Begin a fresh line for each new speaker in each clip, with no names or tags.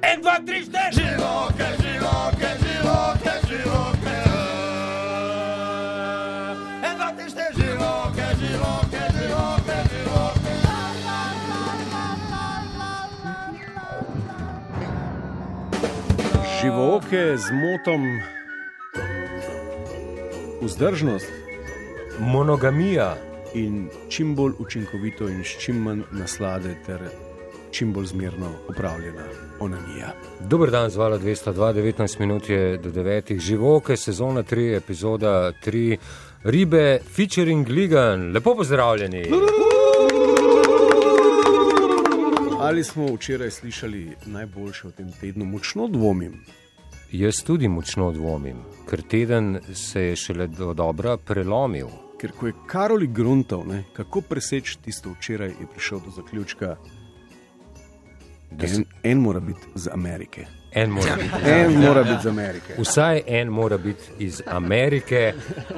En, dva, tri, štiri!
Živoke, živoke, živoke, živoke. En, dva, tri, štiri. Živoke, živoke, živoke, živoke.
Živoke z motom, vzdržnost
Monogamija.
in čim bolj učinkovito in s čim manj naslade ter čim bolj zmerno upravljena onanija.
Dober dan, zvala 202, 19 minut je do 9. Živoke, sezona 3, epizoda 3, ribe, featuring Ligan. Lepo pozdravljeni.
Ali smo včeraj slišali najboljše v tem tednu, močno dvomim.
Jaz tudi močno dvomim, ker teden se je šele do dobra prelomil.
Ker ko je Karoli Gruntov, ne, kako preseči tisto včeraj, je prišel do zaključka, da en, en mora biti iz Amerike.
En
Ja.
mora biti.
En mora biti iz Amerike.
Vsaj en mora biti iz Amerike,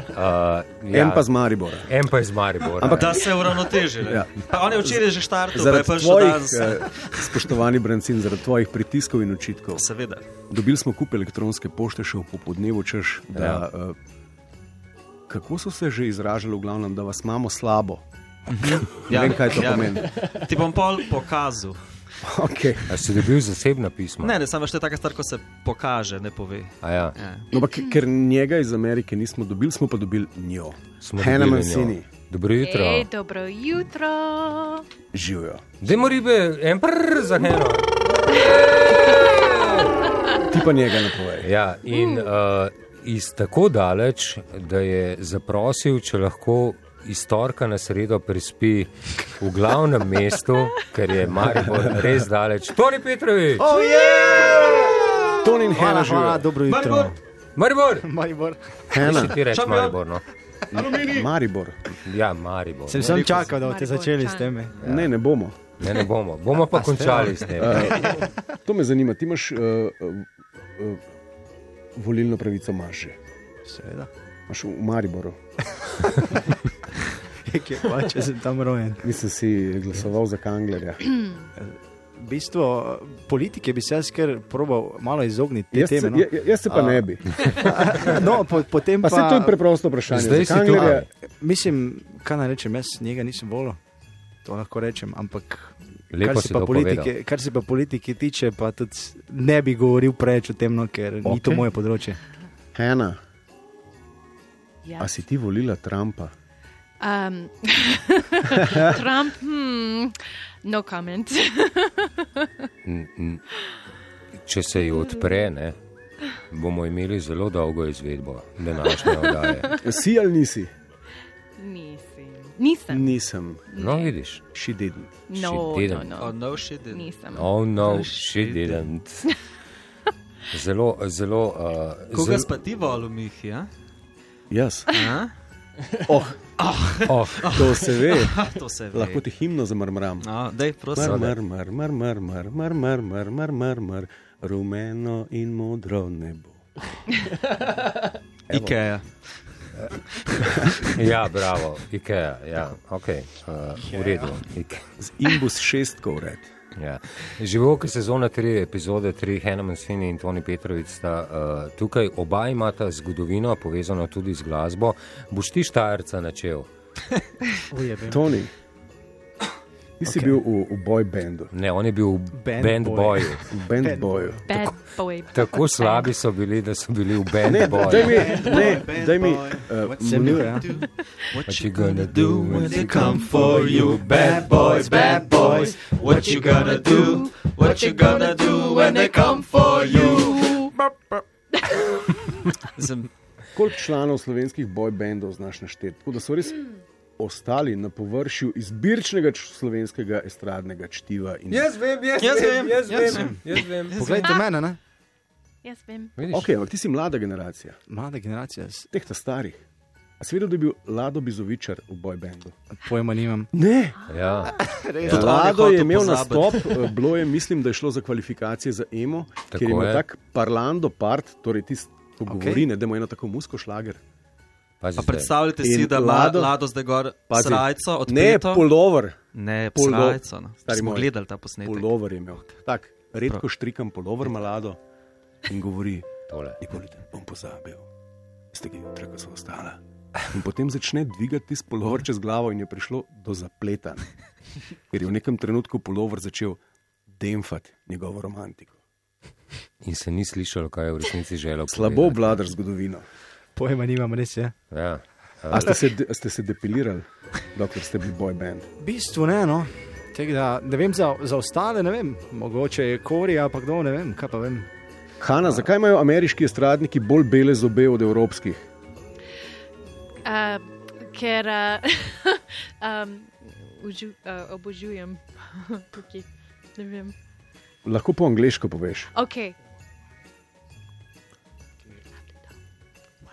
uh,
En pa z Maribora.
en pa iz Maribora.
Ampak-
Ampak,
Da se uravnoteži.
Ja.
Ja. On je včeraj že štartal, da je
Zaradi
prišel
tvojih,
danes.
eh, spoštovani Brancin, zaradi tvojih pritiskov in očitkov.
Seveda.
Dobili smo kup elektronske pošte še v popodnevu, češ, da. Ja. Uh, kako so se že izražali, v glavnem, da vas imamo slabo? Ja, Vem, kaj to ja. pomeni.
Ti bom pol pokazal.
Okay.
si dobil zasebna pisma?
Ne, ne, samo še taka stvar, ko se pokaže, ne pove.
A Ja.
Ja.
No, ampak ker njega iz Amerike nismo dobili, smo pa dobili njo.
Smo
Hannah
dobili njo.
Mancini,
Dobro jutro.
Ej, dobro jutro.
živijo.
Demo ribe, en prr za eno.
Ti pa njega ne povej.
Ja,
Mm.
in uh, iz tako daleč, da je zaprosil, če lahko iz torka na sredo prispi v glavnem mestu, ker je Maribor res daleč. Toni Petrovič,
Oh, yeah!
Toni in
Hvala,
Hannah
hvala,
živijo.
dobro jutro.
Maribor!
Maribor.
Kaj
Hannah,
ti reče
Šampion.
Maribor? No?
Maribor.
Ja, Maribor.
Sem sem čakal, da boste
Mariborčan.
začeli s tem.
Ja. Ne, ne bomo.
Ne, ne bomo, bomo pa končali s tem.
To me zanima. Ti imaš uh, uh, uh, volilno pravico, imaš že.
Seveda.
Imaš v Mariboru.
Kje pa če sem tam rojen?
Nisem si glasoval za Kanglerja.
V bistvu politike bi se jaz kar probal malo izogniti te
Jaz se,
teme. No?
jaz, jaz se pa
A,
ne bi.
No, po, potem
Pa
pa,
se to je preprosto vprašanje. Za
Zdaj si tu.
Kanglerja-
Mislim, kaj naj rečem, jaz njega nisem volil. To lahko rečem, ampak.
Lepo
kar
si
se, pa
to
politike, kar se pa politike tiče, pa tudi ne bi govoril preveč o tem, no, ker okay. ni to
Okej.
moje področje.
Hena,
Ja.
a si ti volila Trumpa?
Um, Trump, hmm, no comment.
N- n- Če se ji odpre, ne, bomo imeli zelo dolgo izvedbo današnje oddaje.
Si ali nisi?
Nisem. Nisem.
Nisem,
No, vidiš.
še deden.
No,
She
no,
didn't.
Oh,
no.
no, she didn't.
Nisem.
Oh, no, she
she
didn't. Zelo, zelo. Uh,
Koga
zelo
pa ti volil, Mihi? Ja?
Jaz.
A?
oh,
To se ve,
Ha, to se ve.
Ja. lahko ti himno zamrmram.
No, daj, prosim.
Mrmr, mrmr, mrmr, mrmr, mrmr, mrmr, mrmr, rumeno in modro nebo.
Ikea.
ja, bravo, Ikea. Ja, okay, uh, v redu. Ike-
Z imbus šestkov red.
Ja. Živoke sezona 3, epizode 3, Henem Svini in Toni Petrovic sta uh, tukaj, oba imata zgodovino, povezano tudi z glasbo. Boš ti štajerca načel?
Toni, ti si okay. bil v, v boy bandu,
Ne, on je bil v
Band
band
boy.
boju.
v band boju.
Bad boy.
Tako slabi so bili, da so bili v band
Ne,
boju.
daj mi, ne, daj mi. Uh,
Sem bil, ja.
What
you gonna do when they
come for you, bad boys, bad boys? What you gonna do? What you gonna do when they come for you? Sem,
Koliko članov slovenskih boj bendov znaš našteti? Tako da so res ostali na površju izbirčnega č- slovenskega estradnega čtiva. In...
Jaz vem, jaz,
Jaz
vem,
vem,
jaz
jaz
vem,
vem.
jaz vem.
Poglejte mene, ne?
Jaz vem.
Vidiš?
Ok, ampak ti si mlada generacija,
mlada generacija, s-
teh ta starih. A si vedel, da je bil Lado Bizovičar v boj bendu?
pojma nimam.
Ne,
Ja.
ja.
on je
Lado je
hotel
imel
pozabiti.
nastop, eh, bilo je, mislim, da je šlo za kvalifikacije za Emo,
Tako
Tako ker je imel
je.
tak parlando part, torej tisti, ko okay. govori, ne, da ima eno tako musko šlager.
Pazi
pa
zdaj.
predstavljate si,
In
da ima
Lado-
Lado zdaj gor
Pazi.
srajco od
Ne, polover.
ne
polo-
srajco. No.
Stari
Smo
moj.
gledali ta posnetek.
Polover je imel. Tak, redko štrikam polover malado in govori:
Tole.
Nikoli te ne bom pozabil, ste ki jutra, ko so ostala. In potem začne dvigati tisti polover čez glavo in je prišlo do zapleta. Ker je v nekem trenutku polover začel demfati njegovo romantiko.
In se ni slišalo, kaj je v resnici želel.
Slabo obvladar zgodovino.
Pojma nimam, res je.
povedati. Ja.
A ste se, de- ste se depilirali, dokler ste bili boj band?
V bistvu ne, no. Tako Da, ne vem za, za ostale, ne vem, mogoče je Korija, pa kdo ne vem, kaj pa vem.
Hanna, zakaj imajo ameriški estradniki bolj bele zobe od evropskih?
Uh, ker uh, um, užu, uh, obožujem tukaj. Ne vem.
Lahko po angliško poveš.
Ok,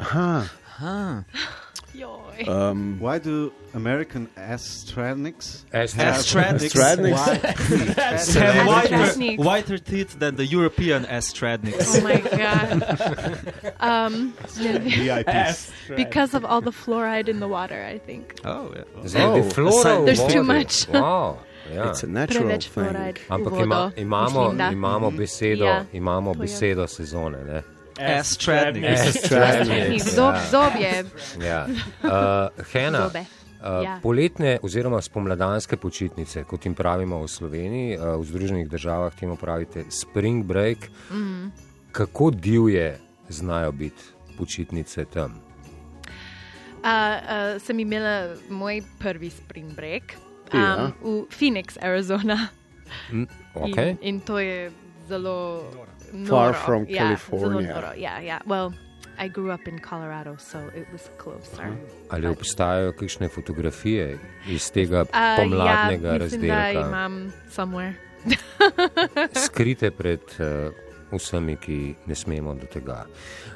Aha,
joj.
um,
Why do American astronics
Eh,
Astradniks.
Astradniks.
Have
Astradniks.
whiter, whiter teeth than the European astradniks.
Oh my god. Um, ne vem. because of all the fluoride in the water, I think.
Oh, yeah.
Zaradi
Oh,
flora.
There's too much.
Wow, ja.
it's a natural
Ah. Preveč
thing.
fluoride.
Ampak ima, imamo, imamo besedo,
Ja,
ja, imamo
to je.
besedo sezone. Ne?
Eh,
Astradniks.
Zob, zobje.
Ja. Uh, Hena,
Zobe.
uh,
Ja.
poletne oziroma spomladanske počitnice, kot jim pravimo v Sloveniji, uh, v Združenih državah temu pravite spring break. Mm.
Mhm.
Kako divje znajo biti počitnice tam?
Uh, uh, sem imela moj prvi spring break um,
Ja.
v Phoenix, Arizona.
Okay.
In, in to je zelo noro.
Far from
ja,
California.
Zelo noro. Yeah, yeah. Well, I grew up in Colorado, so it was closer.
Mhm.
Ali obstajajo kakšne fotografije iz tega
Uh,
pomladnega
ja, mislim, da
razdelka?
imam somewhere.
skrite pred uh, vsemi, ki ne smemo do tega.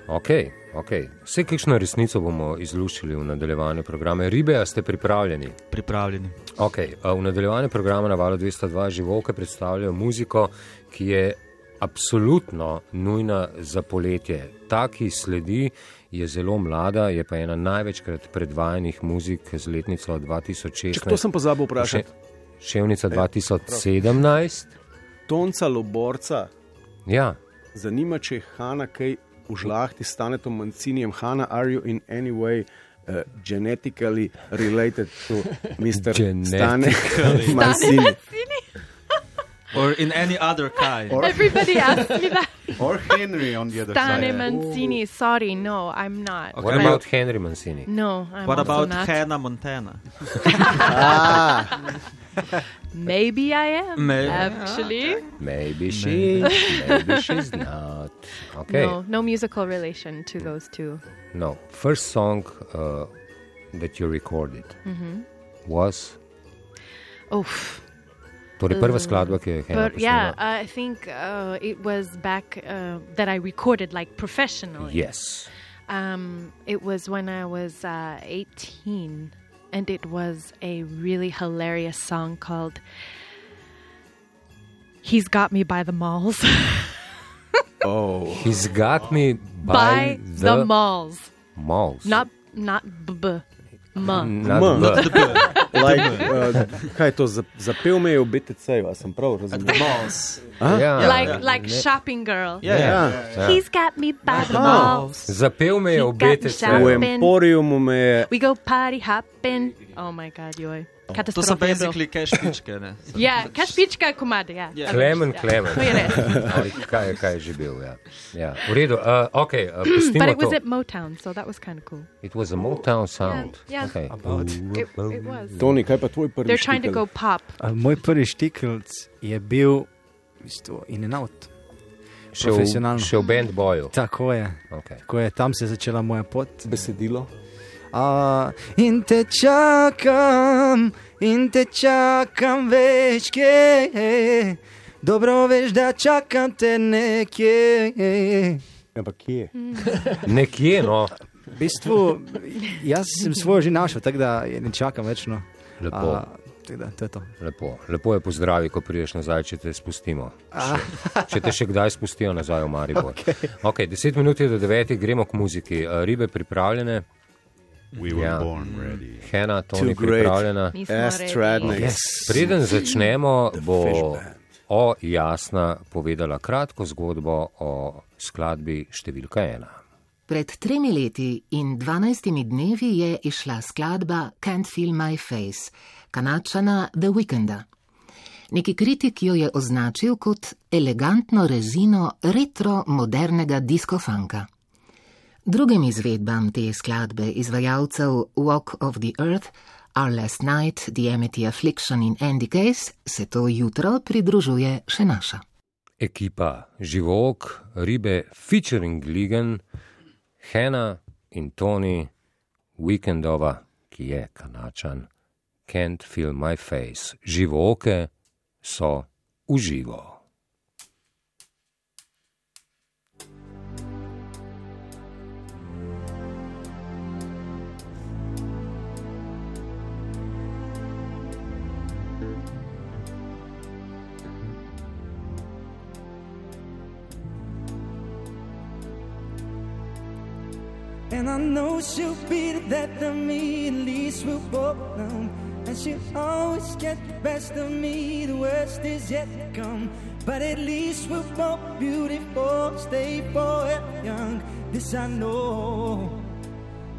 Ok, ok. Vse kakšno resnico bomo izluščili v nadaljevanju programa. Ribe, a ste pripravljeni?
Pripravljeni.
Okay, v nadaljevanju programa na valu 202 živoke predstavljajo muziko, ki je absolutno nujna za poletje. Ta, ki sledi, je zelo mlada, je pa ena največkrat predvajanih muzik z letnico 2016.
Če to sem pozabil vprašati,
Še- Ševnica 2017.
Tonca Loborca
Ja,
zanima, če je Hanna kaj v žlahti s Stanetom Mancinijem. Hanna, are you in any way uh, genetically related to Mr. Stane Mancini?
Or in any other kind.
Everybody asked me that.
or Henry on the other
Stane
side?
Mancini. Sorry, no, I'm not.
Okay.
What
Kaj-
about Henry Mancini?
No, I'm
What
also
about
not.
Hannah Montana?
Maybe I am.
Maybe.
Actually,
Maybe she, maybe she's not. Okay.
no, no musical relation to those two.
No. First song uh, that you recorded
Mhm.
was.
Oof.
Torej, prva skladba, ki jo je Henry
But yeah,
posnela.
I think uh, it was back uh, that I recorded like professionally.
Yes.
Um, it was when I was uh, 18, and it was a really hilarious song called He's Got Me by the Malls.
Oh,
He's got me by,
by the,
the,
Malls.
malls.
Not, not b, b, m.
Not
M.
the-
like, uh, kaj je to, za- zapel me je v BTC-ju, a sem prav razumel?
Balls.
Ja.
Like, like Shopping Girl.
Yeah, yeah.
He's got me by the malls.
Zapel me je
He
v
got me
BTC.
V
shopping.
Emporiumu me je
We go party hopping. Oh my god, joj.
To so
Katastrofa. je bilo.
basically cash pičke, ne?
Ja, kašpička komade, ja.
Ja.
Klemen,
Ja.
klemen.
To je res.
Ali Kaj, je- kaj je že bil? Ja. Ja. V redu, uh, ok, uh, pustimo
But it was
to.
at Motown, so that was kind of cool.
It was a Motown sound.
yeah.
Okay.
It, it was.
Toni, kaj pa tvoj prvi?
They're trying to
štikel?
go pop.
A Moj prvi štikelc je bil v bistvu in en out.
Še v,
Profesionalno.
še v band boju.
Tako je.
Okay.
Ko je tam se je začela moja pot.
besedilo.
A, in te čakam, in te čakam več, kje. Dobro veš, da čakam te nekje.
Ampak kje?
Nekje, no,
V bistvu, jaz sem svojo že našel, tako da je ne čakam večno.
lepo,
tako da, to je to.
lepo. lepo je pozdravi, ko prideš nazaj, če te spustimo. Še, če te še kdaj spustijo nazaj v Maribor. Okay. Okay, 10 minut je do 9, gremo k muziki. Eh, Ribe pripravljene,
We were
Yeah.
born ready.
Hena,
Too
Toni
great.
pripravljena.
Nismo
Astradnik.
Preden začnemo, bo o Jasna povedala kratko zgodbo o skladbi številka ena.
Pred tremi leti in dvanajstimi dnevi je išla skladba Can't Feel My Face, kanačana The Weeknda. Neki kritik jo je označil kot elegantno rezino retro-modernega diskofanka. Drugim izvedbam te skladbe izvajalcev Walk of the Earth, Our Last Night, The Amity Affliction in Andy Case se to jutro pridružuje še naša.
Ekipa Živok, Ribe, featuring Ligan, Hena in Tony, Weekendova, ki je kanačan, Can't Feel My Face. Živoke so uživo.
And I know she'll be that to me, at least we'll both know. And she'll always get the best of me, the worst is yet to come. But at least we're both beautiful, stay forever young. This I know,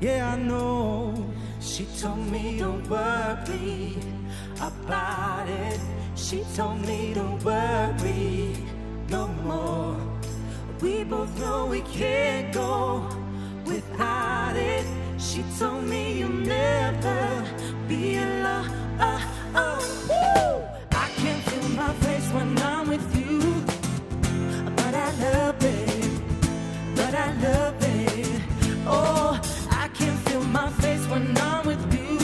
yeah, I know. She told me don't worry about it. She told me don't worry no more. We both know we can't go without it. She told me you'll never be alone. Oh, oh, woo! I can feel my face when I'm with you, but I love it. But I love it. Oh, I can feel my face when I'm with you,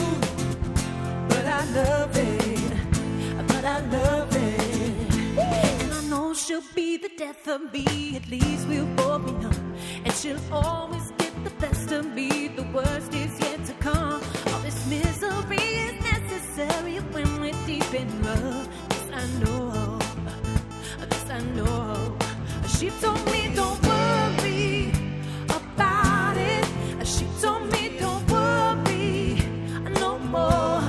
but I love it. But I love it. And I know she'll be the death of me. At least we'll both be numb, and she'll always get the best of me, the worst is yet to come. All this misery is necessary when we're deep in love. This I know, this I know. She told me don't worry about it. She told me don't worry no more.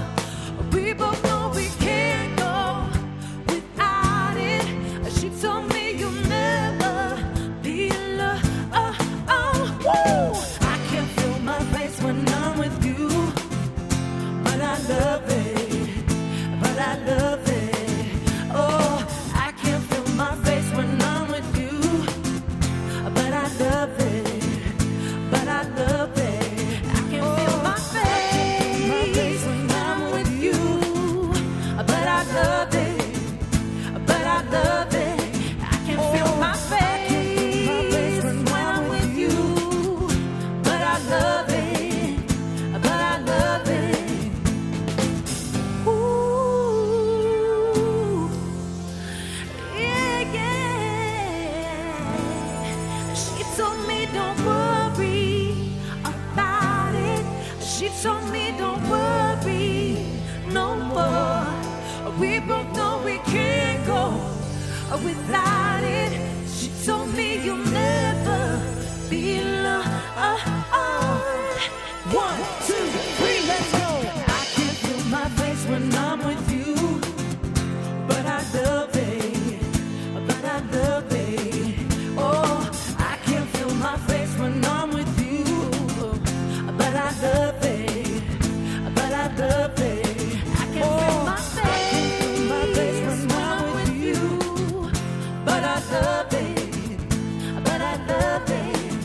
We both know we can't go without it. She told me you'll never be alone. Oh, oh, woo! I can feel my face when I'm with you, but I love it. But I love it. Oh, I can feel my face when I'm with you, but I love it. But I love it. I can feel my face when I'm with you, but I love it. But I love it. I can feel my face when I'm with you. But I love it. But I love it. Ooh, yeah, yeah. She told me don't worry about it. She told me don't worry no more. We both know we can't go without it. She told me you'll never be alone. One, two, three, let's go. I can't feel my face when I'm with you, but I love it. But I love it. Oh, I can't feel my face when I'm with you, but I love it. But I love it. Oh, I can feel my face, my face when I'm with you, but I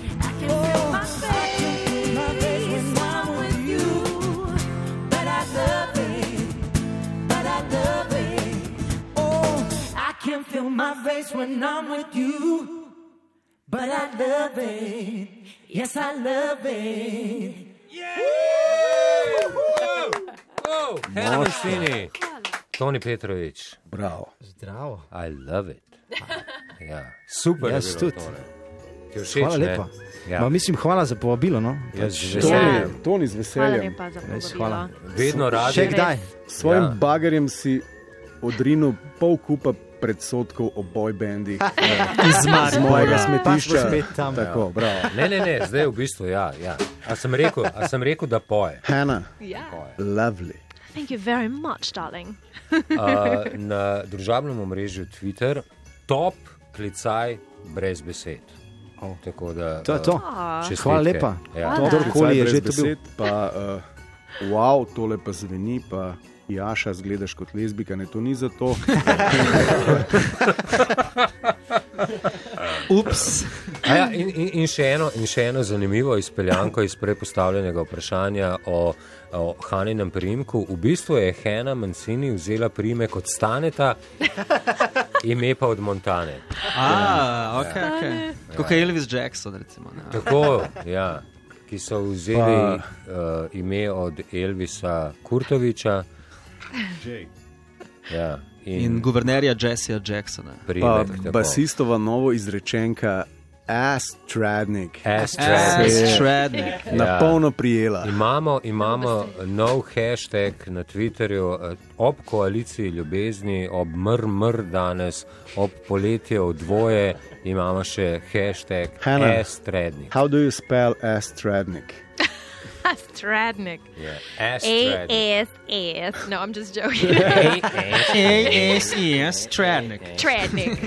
love it. But I love it. Oh, I can feel my face, my face when I'm with you, but I love it. But I love it. Oh, I can feel my face when I'm with you. But I love it. Yes, I love it.
Hena Mašini, Toni Petrovič,
Bravo.
Zdravo.
I love it. Ja, super. je
Jaz
bilo,
tudi.
Tone. Ti je všeč,
Hvala
ne?
lepa.
Ja.
Ja. Ma, mislim, hvala za povabilo. No?
Jaz z
to-
veseljem.
Ja.
Toni z
Hvala
veseljem,
lepa za
Res,
povabilo.
hvala.
Vedno rad.
Še kdaj?
s svojim
Ja.
ja. bagerjem si odrinil pol kupa predsotkov o boj bendih
Iz
z mojega smetišča.
spet tam.
Tako, bravo.
Ne, ne, ne, zdaj v bistvu ja. ja. A sem rekel, a sem rekel da poje.
Hannah,
Ja.
lovely.
Thank you very much, darling.
Uh, na družbenem omrežju Twitter, top klicaj brez besed.
Oh.
Tako da,
To je to.
Aw.
čestitke.
Hvala lepa.
Ja.
Hvala.
Kdorkoli je že to bil.
besed, pa uh, wow, tole pa zveni, pa Jaša, zgledaš kot lezbika, ne to ni za to.
Ups.
A Ja, in, in, in, še eno, in še eno zanimivo izpeljanko iz prepostavljenega vprašanja o, o Haninem primku. V bistvu je Hanna Mancini vzela primek od Staneta, ime pa od Montane.
Ah, ok, ok. Kot je Elvis Jackson, recimo. ne.
Tako, ja, ki so vzeli
Pa-
uh, ime od Elvisa Kurtoviča
Jay.
ja, in,
In
in
guvernerja Jesseja Jacksona.
Pa
primek. tako.
basistova novo izrečenka Astradnik.
Asterisk.
Ass Shrednik.
Na
Ja.
polno prijela.
Imamo, imamo nov hashtag na Twitterju, eh, ob koaliciji ljubezni, ob mrmr danes, ob poletje v dvoje, imamo še hashtag
Hannah.
S-trednik.
How do you spell Astradnik?
Stradnik.
E
E
S-trednik.
A S S. No, I'm just joking.
ASES Shrednik.
Tradnik.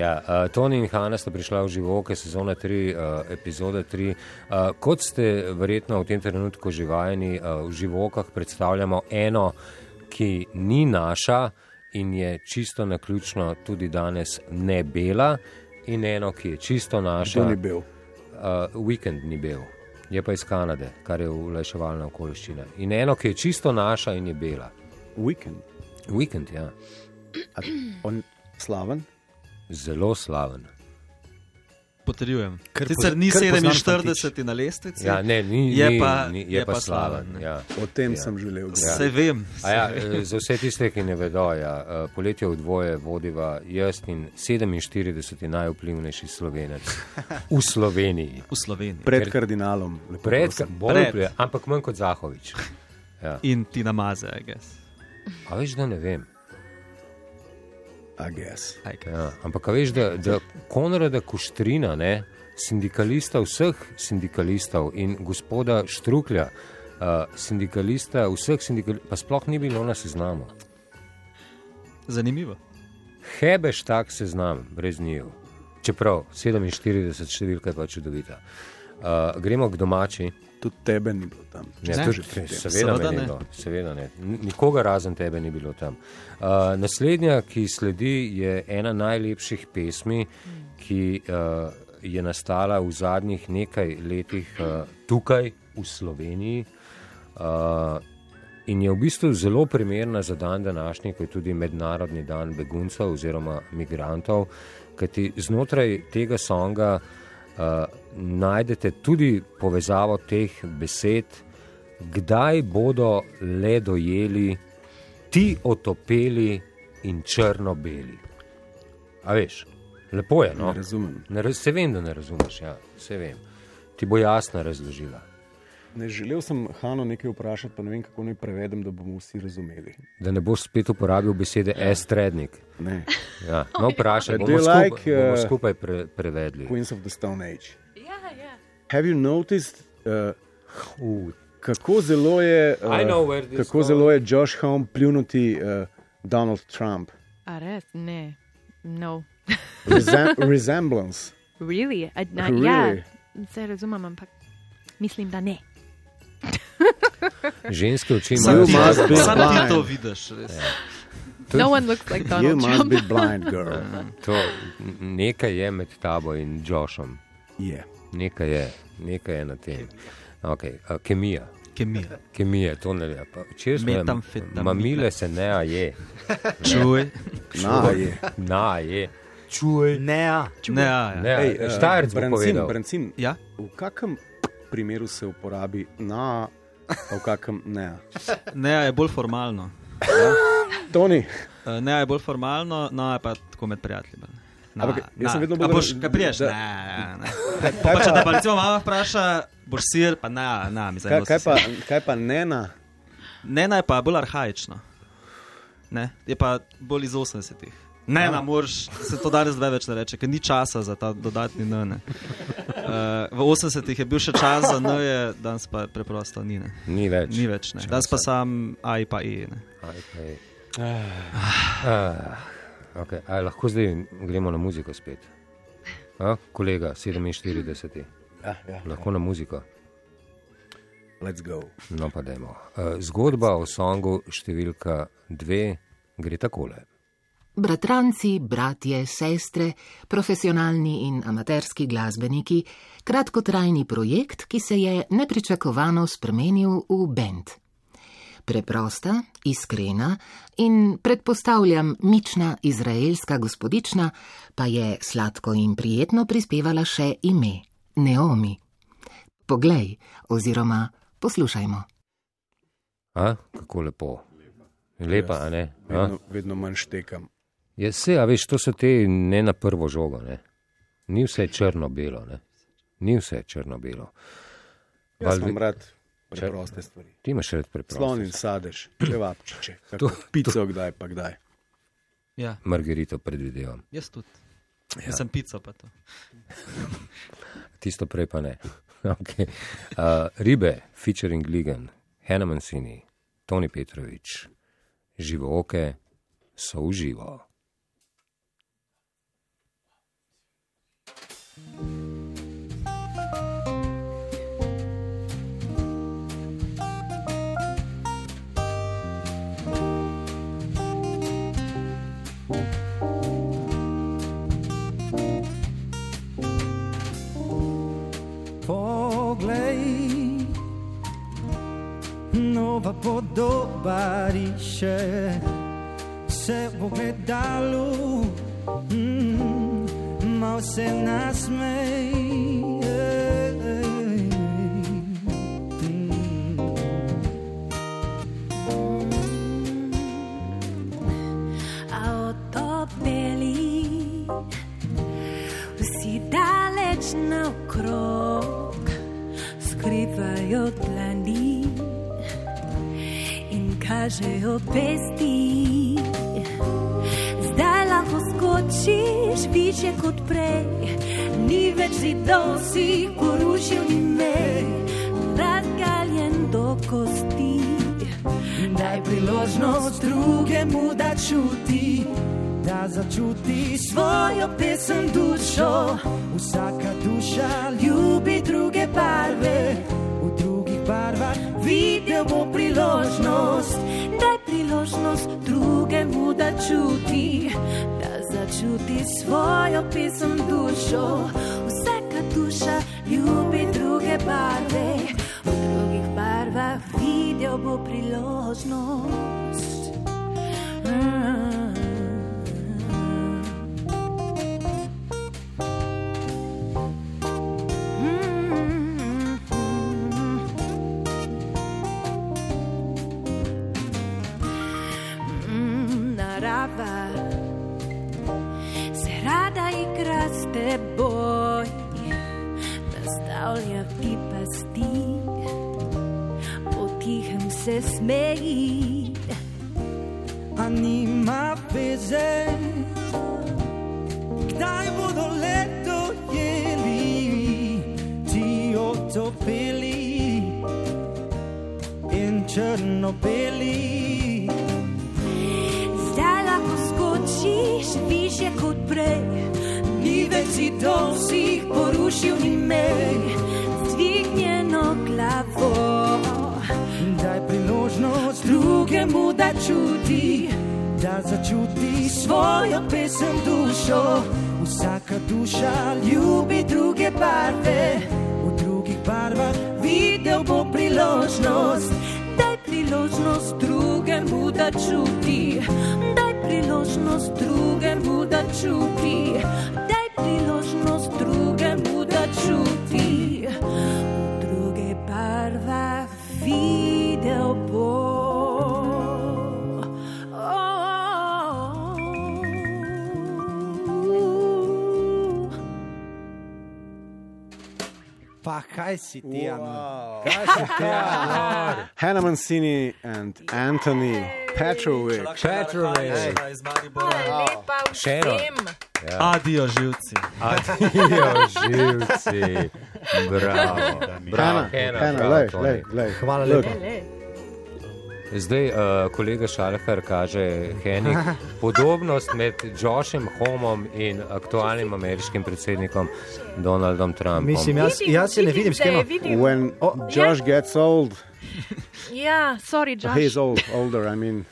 Ja, uh, Toni in Hanna sta prišla v živoke, sezona 3, uh, epizoda 3. Uh, kot ste verjetno v tem trenutku že vajeni, uh, v živokah predstavljamo eno, ki ni naša in je čisto na ključno tudi danes ne bela, in eno, ki je čisto
To
naša.
ni bil.
Uh, Vikend ni bil, je pa iz Kanade, kar je ulajševalna okoliščina. In eno, ki je čisto naša in je bela.
Weekend.
Vikend, ja,
A On slaven?
zelo slaven.
Potrjujem.
Ker
Sicer
poz-
ni
ker poznam
47 na lestvici,
Ja, ne, ni,
Je
ni,
pa-
ni, je,
je
pa
pa
slaven.
slaven, ne.
ja.
O tem sem želel govoriti.
se vem.
A Ja, eh, za vse tiste, ki ne vedo, ja, eh, poletje v dvoje vodiva jaz in 47 najvplivnejši slovenec v Sloveniji.
V Sloveniji.
Pred kardinalom. lepo
Pred,
prosim.
bolj,
Pred.
pred. Ampak manj kot Zahovič.
In ti namaze, I guess.
A veš, da ne vem.
I guess.
I guess.
Ja, ampak a veš, da, da Konrada Kuštrina, ne, sindikalista vseh sindikalistov in gospoda Štruklja, uh, sindikalista vseh sindikalistov, pa sploh ni bilo na seznamu.
Zanimivo.
Hebeš tak seznam, brez njiju. Čeprav 47 številka je pa čudovita. Uh, gremo k domači.
Tudi tebe ni bilo tam.
Ne,
Ne.
to že- seveda,
Seveda
seveda, ne.
ne.
Bilo, seveda ne. N- Nikoga razen tebe ni bilo tam. Uh, naslednja, ki sledi, je ena najlepših pesmi, ki uh, je nastala v zadnjih nekaj letih uh, tukaj v Sloveniji. Uh, In je v bistvu zelo primerna za dan današnji, ko je tudi mednarodni dan beguncev oziroma migrantov, kajti znotraj tega songa uh, najdete tudi povezavo teh besed, kdaj bodo le dojeli ti otopeli in črno-beli. A veš, lepo je, no?
Ne razumem.
Ne, raz- se vem, da ne razumeš, ja, se vem. Ti bo jasno razložila.
Ne želel sem Hano nekaj vprašati, pa ne vem, kako naj prevedem, da bomo vsi razumeli.
Da ne boš spet uporabil besede S-trednik.
Ne.
Ja, no,
ja.
vprašaj, bomo,
Do you like,
like, skupaj, bomo
uh,
skupaj pre, prevedli.
Queens of the Stone Age.
yeah, yeah.
Have you noticed, uh, kako zelo je, uh,
I know where this
kako
goes.
zelo je Josh Home pljunuti uh, Donald Trump?
Ares, ne. No.
Resem resemblance.
Really? I, na,
Really?
Ja, se razumem, ampak mislim, da ne.
Ženske oči
Sam
imajo
ti,
must be
sam ti to
blind.
vidiš, res.
Ja.
No one looks like
You
Donald
must
Trump.
be blind, girl.
to. n- Nekaj je med tabo in Joshom,
Yeah.
nekaj je, nekaj je na tem. Okay, a, kemija.
Ja.
Kemija.
Kemija, to ne ve. Pa Včeraj smo jim-
Metamfetamine.
mamile se ne a je,
Čuj.
Na, je.
na a je.
Ne, ja.
Ne, ja, ja.
Ne,
eh,
Štajerc uh, bo
Brancin,
povedal.
Brancin,
ja?
v kakem primeru se uporabi na, a v kakem ne?
Ne, ja, je bolj formalno.
Toni,
Eh, Ne, ja, je bolj formalno, no je pa tako med prijatelji. Na,
Ampak jaz sem vedno
A
bolj-
boš, kaj priješ?
da-
Ne, ne, ne. Pa, če te pa recimo mama vpraša, boš sir, pa ne, ne, mi zdaj
kaj,
dosti
kaj, pa,
sir.
kaj pa ne na?
Ne, ne, pa je bolj arhajično. Ne, je pa bolj iz 80-ih. Ne, no. ne, morš, se to danes zdaj več ne reče, ker ni časa za ta dodatni N. ne. Eh, v 80-ih je bil še čas za N, je, danes pa preprosto ni. Ne.
Ni več.
Ni več, ne. danes pa sam A in pa E. Ne.
Aj, kaj. Ah, okay. Aj, lahko zdaj gremo na muziko spet. A, kolega, 47.
Ja, ja.
Lahko na muziko.
Let's go.
No, pa dajmo. Eh, Zgodba o songu številka 2 gre takole.
Bratranci, bratje, sestre, profesionalni in amaterski glasbeniki, kratkotrajni projekt, ki se je nepričakovano spremenil v bend. Preprosta, iskrena in predpostavljam mična izraelska gospodična pa je sladko in prijetno prispevala še ime Neomi. Poglej oziroma poslušajmo.
A, kako lepo. Lepa, a ne? A?
Vedno, No, vedno manj štekam.
Ja, se, a veš, to so te ne na prvo žogo. Ne? Ni vse črno-belo, ne? ni vse črno-belo.
Jaz imam rad preproste stvari.
Ti imaš red preprosto.
Slon in sadež, kebabčiče, to, pico kdaj pa kdaj.
Ja,
Margarito predvidevam,
jaz tudi. Jaz sem pico pa to.
tisto prej pa ne. okay. uh, ribe, featuring Ligan, Hanna Mancini, Toni Petrovič, živoke so uživo.
Poglej, nova podoba riše se v ogledalu, mm, mal se nasmej. ej, mm.
a od obeli vsi daleč naokrog skrivajo dlani in kažejo pesti. Zdaj lahko skočiš više kot prej, ni več zidov, si porušil ni mej, razgaljen do kosti.
Daj priložnost drugemu, da čuti, da začuti svojo pesem dušo. Vsaka duša ljubi druge barve, v drugih barvah videl bo priložnost.
Daj priložnost drugemu, da čuti, da začuti svojo pesem dušo. Vsaka duša ljubi druge barve, v drugih barvah videl bo priložnost. Mm. Mm, narava se rada igra s teboj, nastavlja ti pasti, potihem se smeji.
a nima veze. Kdaj bodo leto jeli, ti otopeli in črno-beli.
Zdaj lahko skočiš više kot prej,
Ni več zidov, si jih porušil, ni mej.
dvignjeno glavo.
Daj priložnost drugemu, da čuti, da začuti svojo pesem dušo. Vsaka duša ljubi druge barve, v drugih barvah videl bo priložnost.
Daj priložnost drugemu, da čuti, daj priložnost drugemu, da čuti, daj priložnost drugemu, da čuti. V druge barva videl bo.
Pa kaj si ti, Ana?
Kaj si ti, Ana? Hannah Mancini and Anthony Petrovic.
Petrovic.
Ah,
Še eno. Ja.
Adijo živci.
Adijo Ja, živci. Bravo. Bravo.
Hannah, Hannah, lej, lej, lej.
Hvala
Look.
Zdaj, uh, kolega Šalhar kaže Henning, podobnost med Joshom Homom in aktualnim ameriškim predsednikom Donaldom Trumpom.
Mislim, jaz, jaz se ne vidim s
da je
kim.
videl.
When ja. Josh gets old,
Yeah, sorry, Josh.
he's old, older, I mean.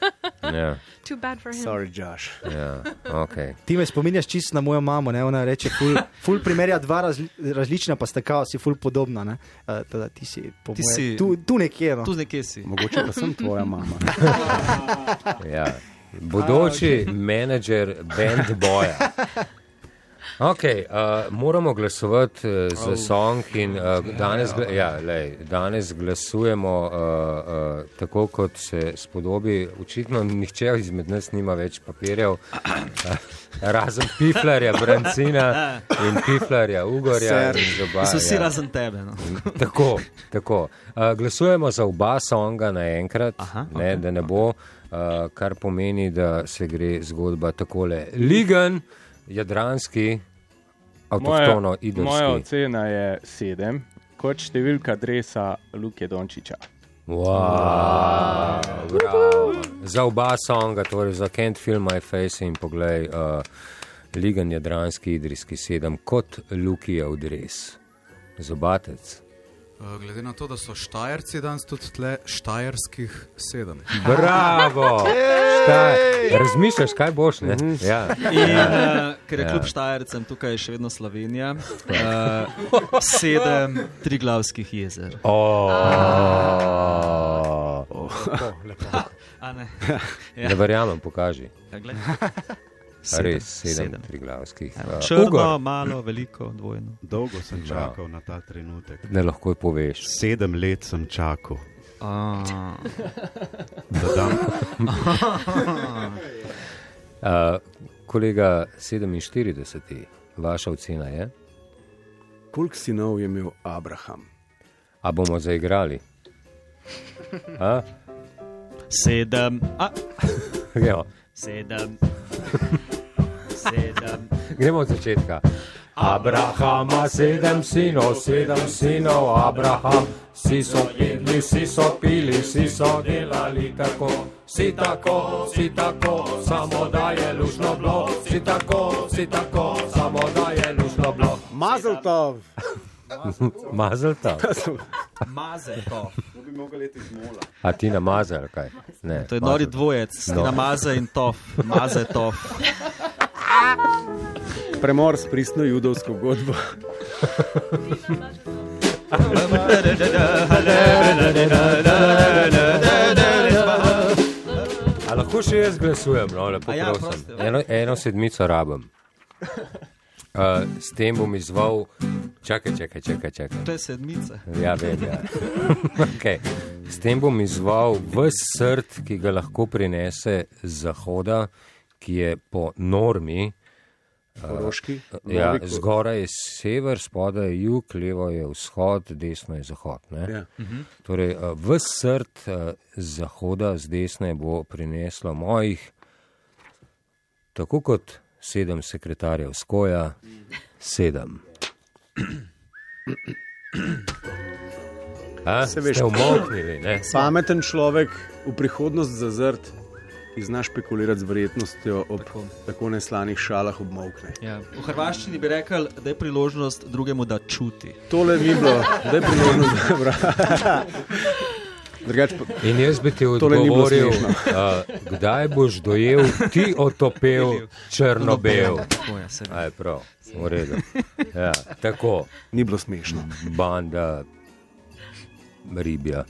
Yeah.
Too bad for him.
Sorry, Josh.
Yeah, okay.
Ti me spominjaš čist na mojo mamo, ne? ona reče, ful, ful primerja dva razli, različna, pa sta kao, si ful podobna. ne. Eh, Teda, ti si, po
Ti
moje,
si-
tu, tu nekje. No.
Tu nekje si.
Mogoče pa sem tvoja mama.
Ja. Bodoči menedžer bend boja. Okay, uh, moramo glasovati uh, za song in uh, danes, gla ja, lej, danes glasujemo uh, uh, tako, kot se spodobi. Očitno nihče izmed nas nima več papirjev, uh, razen Piflarja, Brancina in Piflarja, Ugorja. in Zoba,
So vsi
ja.
razen tebe. No.
Tako, tako. Uh, glasujemo za oba songa naenkrat, Aha, ne, okay, da ne bo, uh, kar pomeni, da se gre zgodba takole. Ligan, jadranski, avtohtono,
moja
idolski.
ocena je sedem, kot številka dresa Luke Dončiča.
Wow, bravo. za oba songa, torej za Can't Film My Face in poglej, uh, Ligan, jadranski, idrijski sedem, kot Lukijev dres. Zobatec.
Glede na to, da so štajerci danes tudi tle, štajerskih sedem.
Bravo! Šta, razmišljaš, kaj boš? Ne? Ja.
In, uh, ker je
Ja.
kljub Štajercem tukaj še vedno Slovenija, uh, sedem triglavskih jezer.
Oh.
Lepo, lepo. A ne?
Ja. Ne verjamem, pokaži.
Ja, glej.
A Res sedem, sedem.
Sedem.
triglavskih.
Evo,
Uh,
Črno,
Ugor,
malo, veliko, dvojno.
Dolgo sem
Ja.
čakal na ta trenutek.
Ne lahko poveš.
Sedem let sem čakal.
A.
Da dam.
Uh, kolega 47, vaša ocena je,
Koliko sinov je imel Abraham?
a bomo zaigrali? A?
Sedem. A.
Gremo.
Sedem. Sedem.
Gremo od začetka. Abrahama sedem sinov, sedem sinov, Abraham, vsi so jedli, vsi so pili, vsi so delali tako. Si tako, si tako, samo da je lušno bilo, si tako, si tako, samo da je lušno bilo.
Mazeltov!
Mazelta.
Maze to.
To bi mogel leti z mola.
A ti namaze ali kaj? Ne,
To je
Mazel.
nori dvojec,
No.
no. maze in tof, maze tof.
Premor s pristno judovsko godbo.
A lahko še jaz glasujem, no, lepo
A ja,
prosim.
prosti, ja.
Eno, eno sedmico rabim. Uh, s tem bom izval, čakaj, čakaj, čakaj. čakaj.
To je sedmica.
Ja, vem. Ja. okay. S tem bom izval vse srd, ki ga lahko prinese z zahoda, ki je po normi. eh,
Koroški?
Ja,
Novi Kor-
zgoraj je sever, spodaj je jug, levo je vzhod, desno je zahod.
Ja.
Ja. Torej, vse srd eh, z zahoda, z desne bo prineslo mojih, tako kot sedem sekretarjev skoja, sedem. A,
Se veš,
ste umoknili, ne?
Pameten človek v prihodnost zazrt, ki zna špekulirati z verjetnostjo ob tako, tako neslanih šalah obmokne.
Ja. V hrvaščini bi rekel, da je priložnost drugemu, da čuti.
Tole ni bilo, da je priložnost dobra. Drugač pa
In jaz bi ti
Tole ni bilo
odgovoril,
smešno.
uh, kdaj boš dojel ti otopel črno-bel.
ja, Tako je, seveda.
Aj, prav, v redu. Ja, tako,
ni bilo smešno.
banda ribja.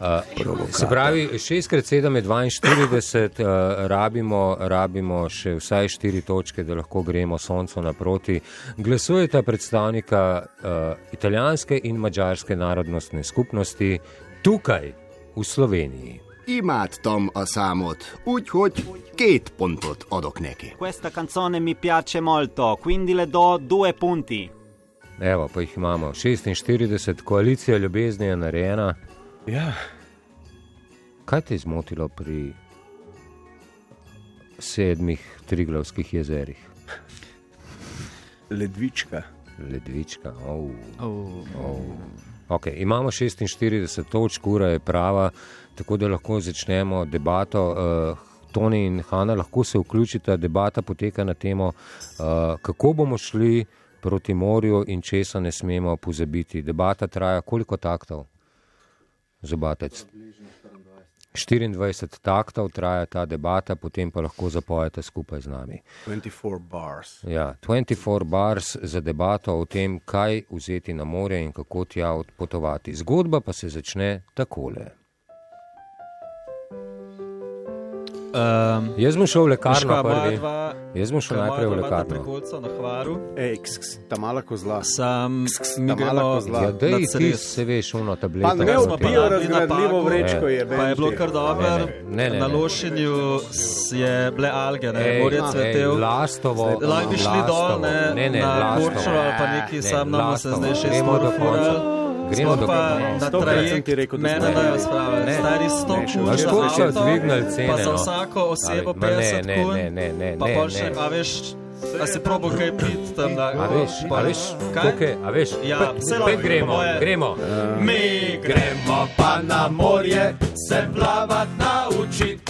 Uh, se pravi, 6x7 je 42, uh, rabimo, rabimo še vsaj 4 točke, da lahko gremo soncu naproti. Glasujeta predstavnika uh, italijanske in mačarske narodnostne skupnosti tukaj, v Sloveniji.
Imádtam a számot, úgyhogy két pontot adok neki.
Questa canzone mi piace molto, quindi le do due punti.
Evo, pa jih imamo. 46, koalicija ljubezni je narejena.
Ja.
Kaj te je zmotilo pri sedmih Triglavskih jezerih?
Ledvička.
Ledvička, oh.
Oh.
Oh. Okay, imamo 46 točk, ura je prava, tako da lahko začnemo debato. Uh, Toni in Hanna lahko se vključita, debata poteka na temo, uh, kako bomo šli proti morju in česa ne smemo pozabiti. Debata traja koliko taktov? Zobatec. 24 taktov traja ta debata, potem pa lahko zapojete skupaj z nami.
24 bars.
Ja, 24 bars za debato o tem, kaj vzeti na more in kako tja odpotovati. Zgodba pa se začne takole.
Um,
Jaz bom šel v
Boška,
lekarno
oba
prvi.
dva,
Jaz bom šel
oba
najprej v
dva imata
lekarno.
Prekolca na hvaru.
Ej, ks, ks, ta mala kozla.
Sam, mi
ta mala
gremo
kozla.
Ja, dej
na
ti
Ceres.
se veš, uno tableto.
Pa ne
Smo pa
vpijo
naredili
razgradljivo
napako.
vrečko, je
Pa je bilo kar dobro.
Ne, ne, ne.
Na lošenju s- je bile alge, ne
Ej,
morje
ej,
cvetel.
Lastovo,
Lahko bi šli
Lastovo.
dol, ne,
Ne, ne,
na
Lastovo.
Korčo ali pa neki
Ne,
sam nam se
Lastovo.
zdaj še
Gremo do konca. Gremo do
pa
konca.
na
Stokrat sem
trajekt,
ti rekel, da
mene
smo-
dajo sprave.
Ne.
Stari 100
Ne, še
kun
več.
za
Toliko so
avto,
dvignili
pa
cene,
za
no.
vsako osebo
Ali- ma ne,
50
ne,
kun,
ne, ne, ne,
pa
ne,
pol še,
ne.
a veš, a si probo kaj pit tam da.
A veš, a veš, tukaj, a veš,
Ja,
pet,
vse
pet
lahko,
gremo,
moje.
gremo.
Mi gremo pa na morje, se plavat naučit,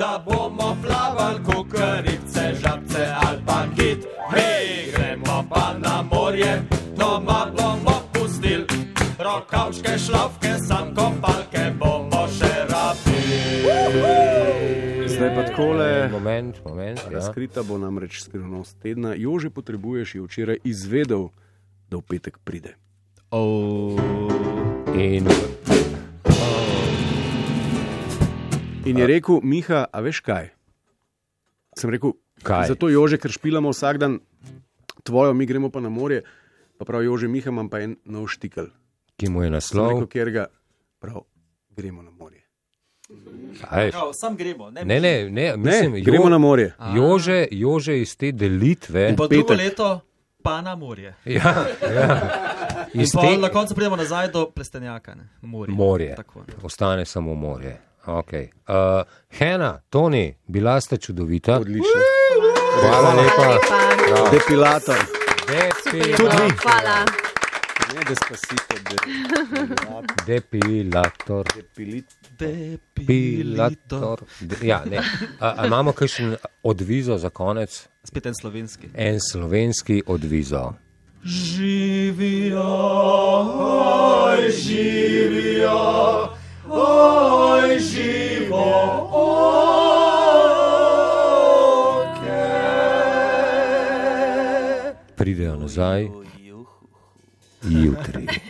da bomo plaval kukarice, žabce ali pa kit. Mi gremo pa na morje, doma bomo pustil, rokavčke, šlavke, sam kopalke bomo še rabili.
Zdaj pa takole.
Moment, moment. ja.
Razkrita bo namreč skrivnost tedna. Jože potrebuješ, je včeraj izvedel, da v petek pride.
Oh.
In...
In je rekel, Miha, a veš kaj? Sem rekel,
Kaj?
Zato Jože, ker špilamo vsak dan tvojo, mi gremo pa na morje. Pa prav Jože, Miha, imam pa en nov štikl.
Ki mu je
Sem
naslov?
Rekel, ker ga prav gremo na morje.
A veš?
Prav, sam gremo, ne
Ne, ne, ne, mislim,
Ne, gremo na morje.
Jože, Jože iz te delitve.
Po drugo leto pa na morje.
Ja, ja.
In
Iz
pol
te-
na koncu pridemo nazaj do plestenjaka, ne? morje.
Morje.
Tako.
Ostane samo morje. Okay. Uh, Hena, Toni, bila ste čudovita. Odlično. Hvala
Hvala
lepa.
lepa.
Bravo.
Depilator.
Depilator.
Hvala.
Ne, da spasite, da
Depilator. Depilator. De, ja, ne. A, a imamo kakšen odvizo za konec?
Spet en slovenski.
En slovenski odvizo.
Živijo, oj, živijo, oj, živo, oke.
Pridejo nazaj jutri.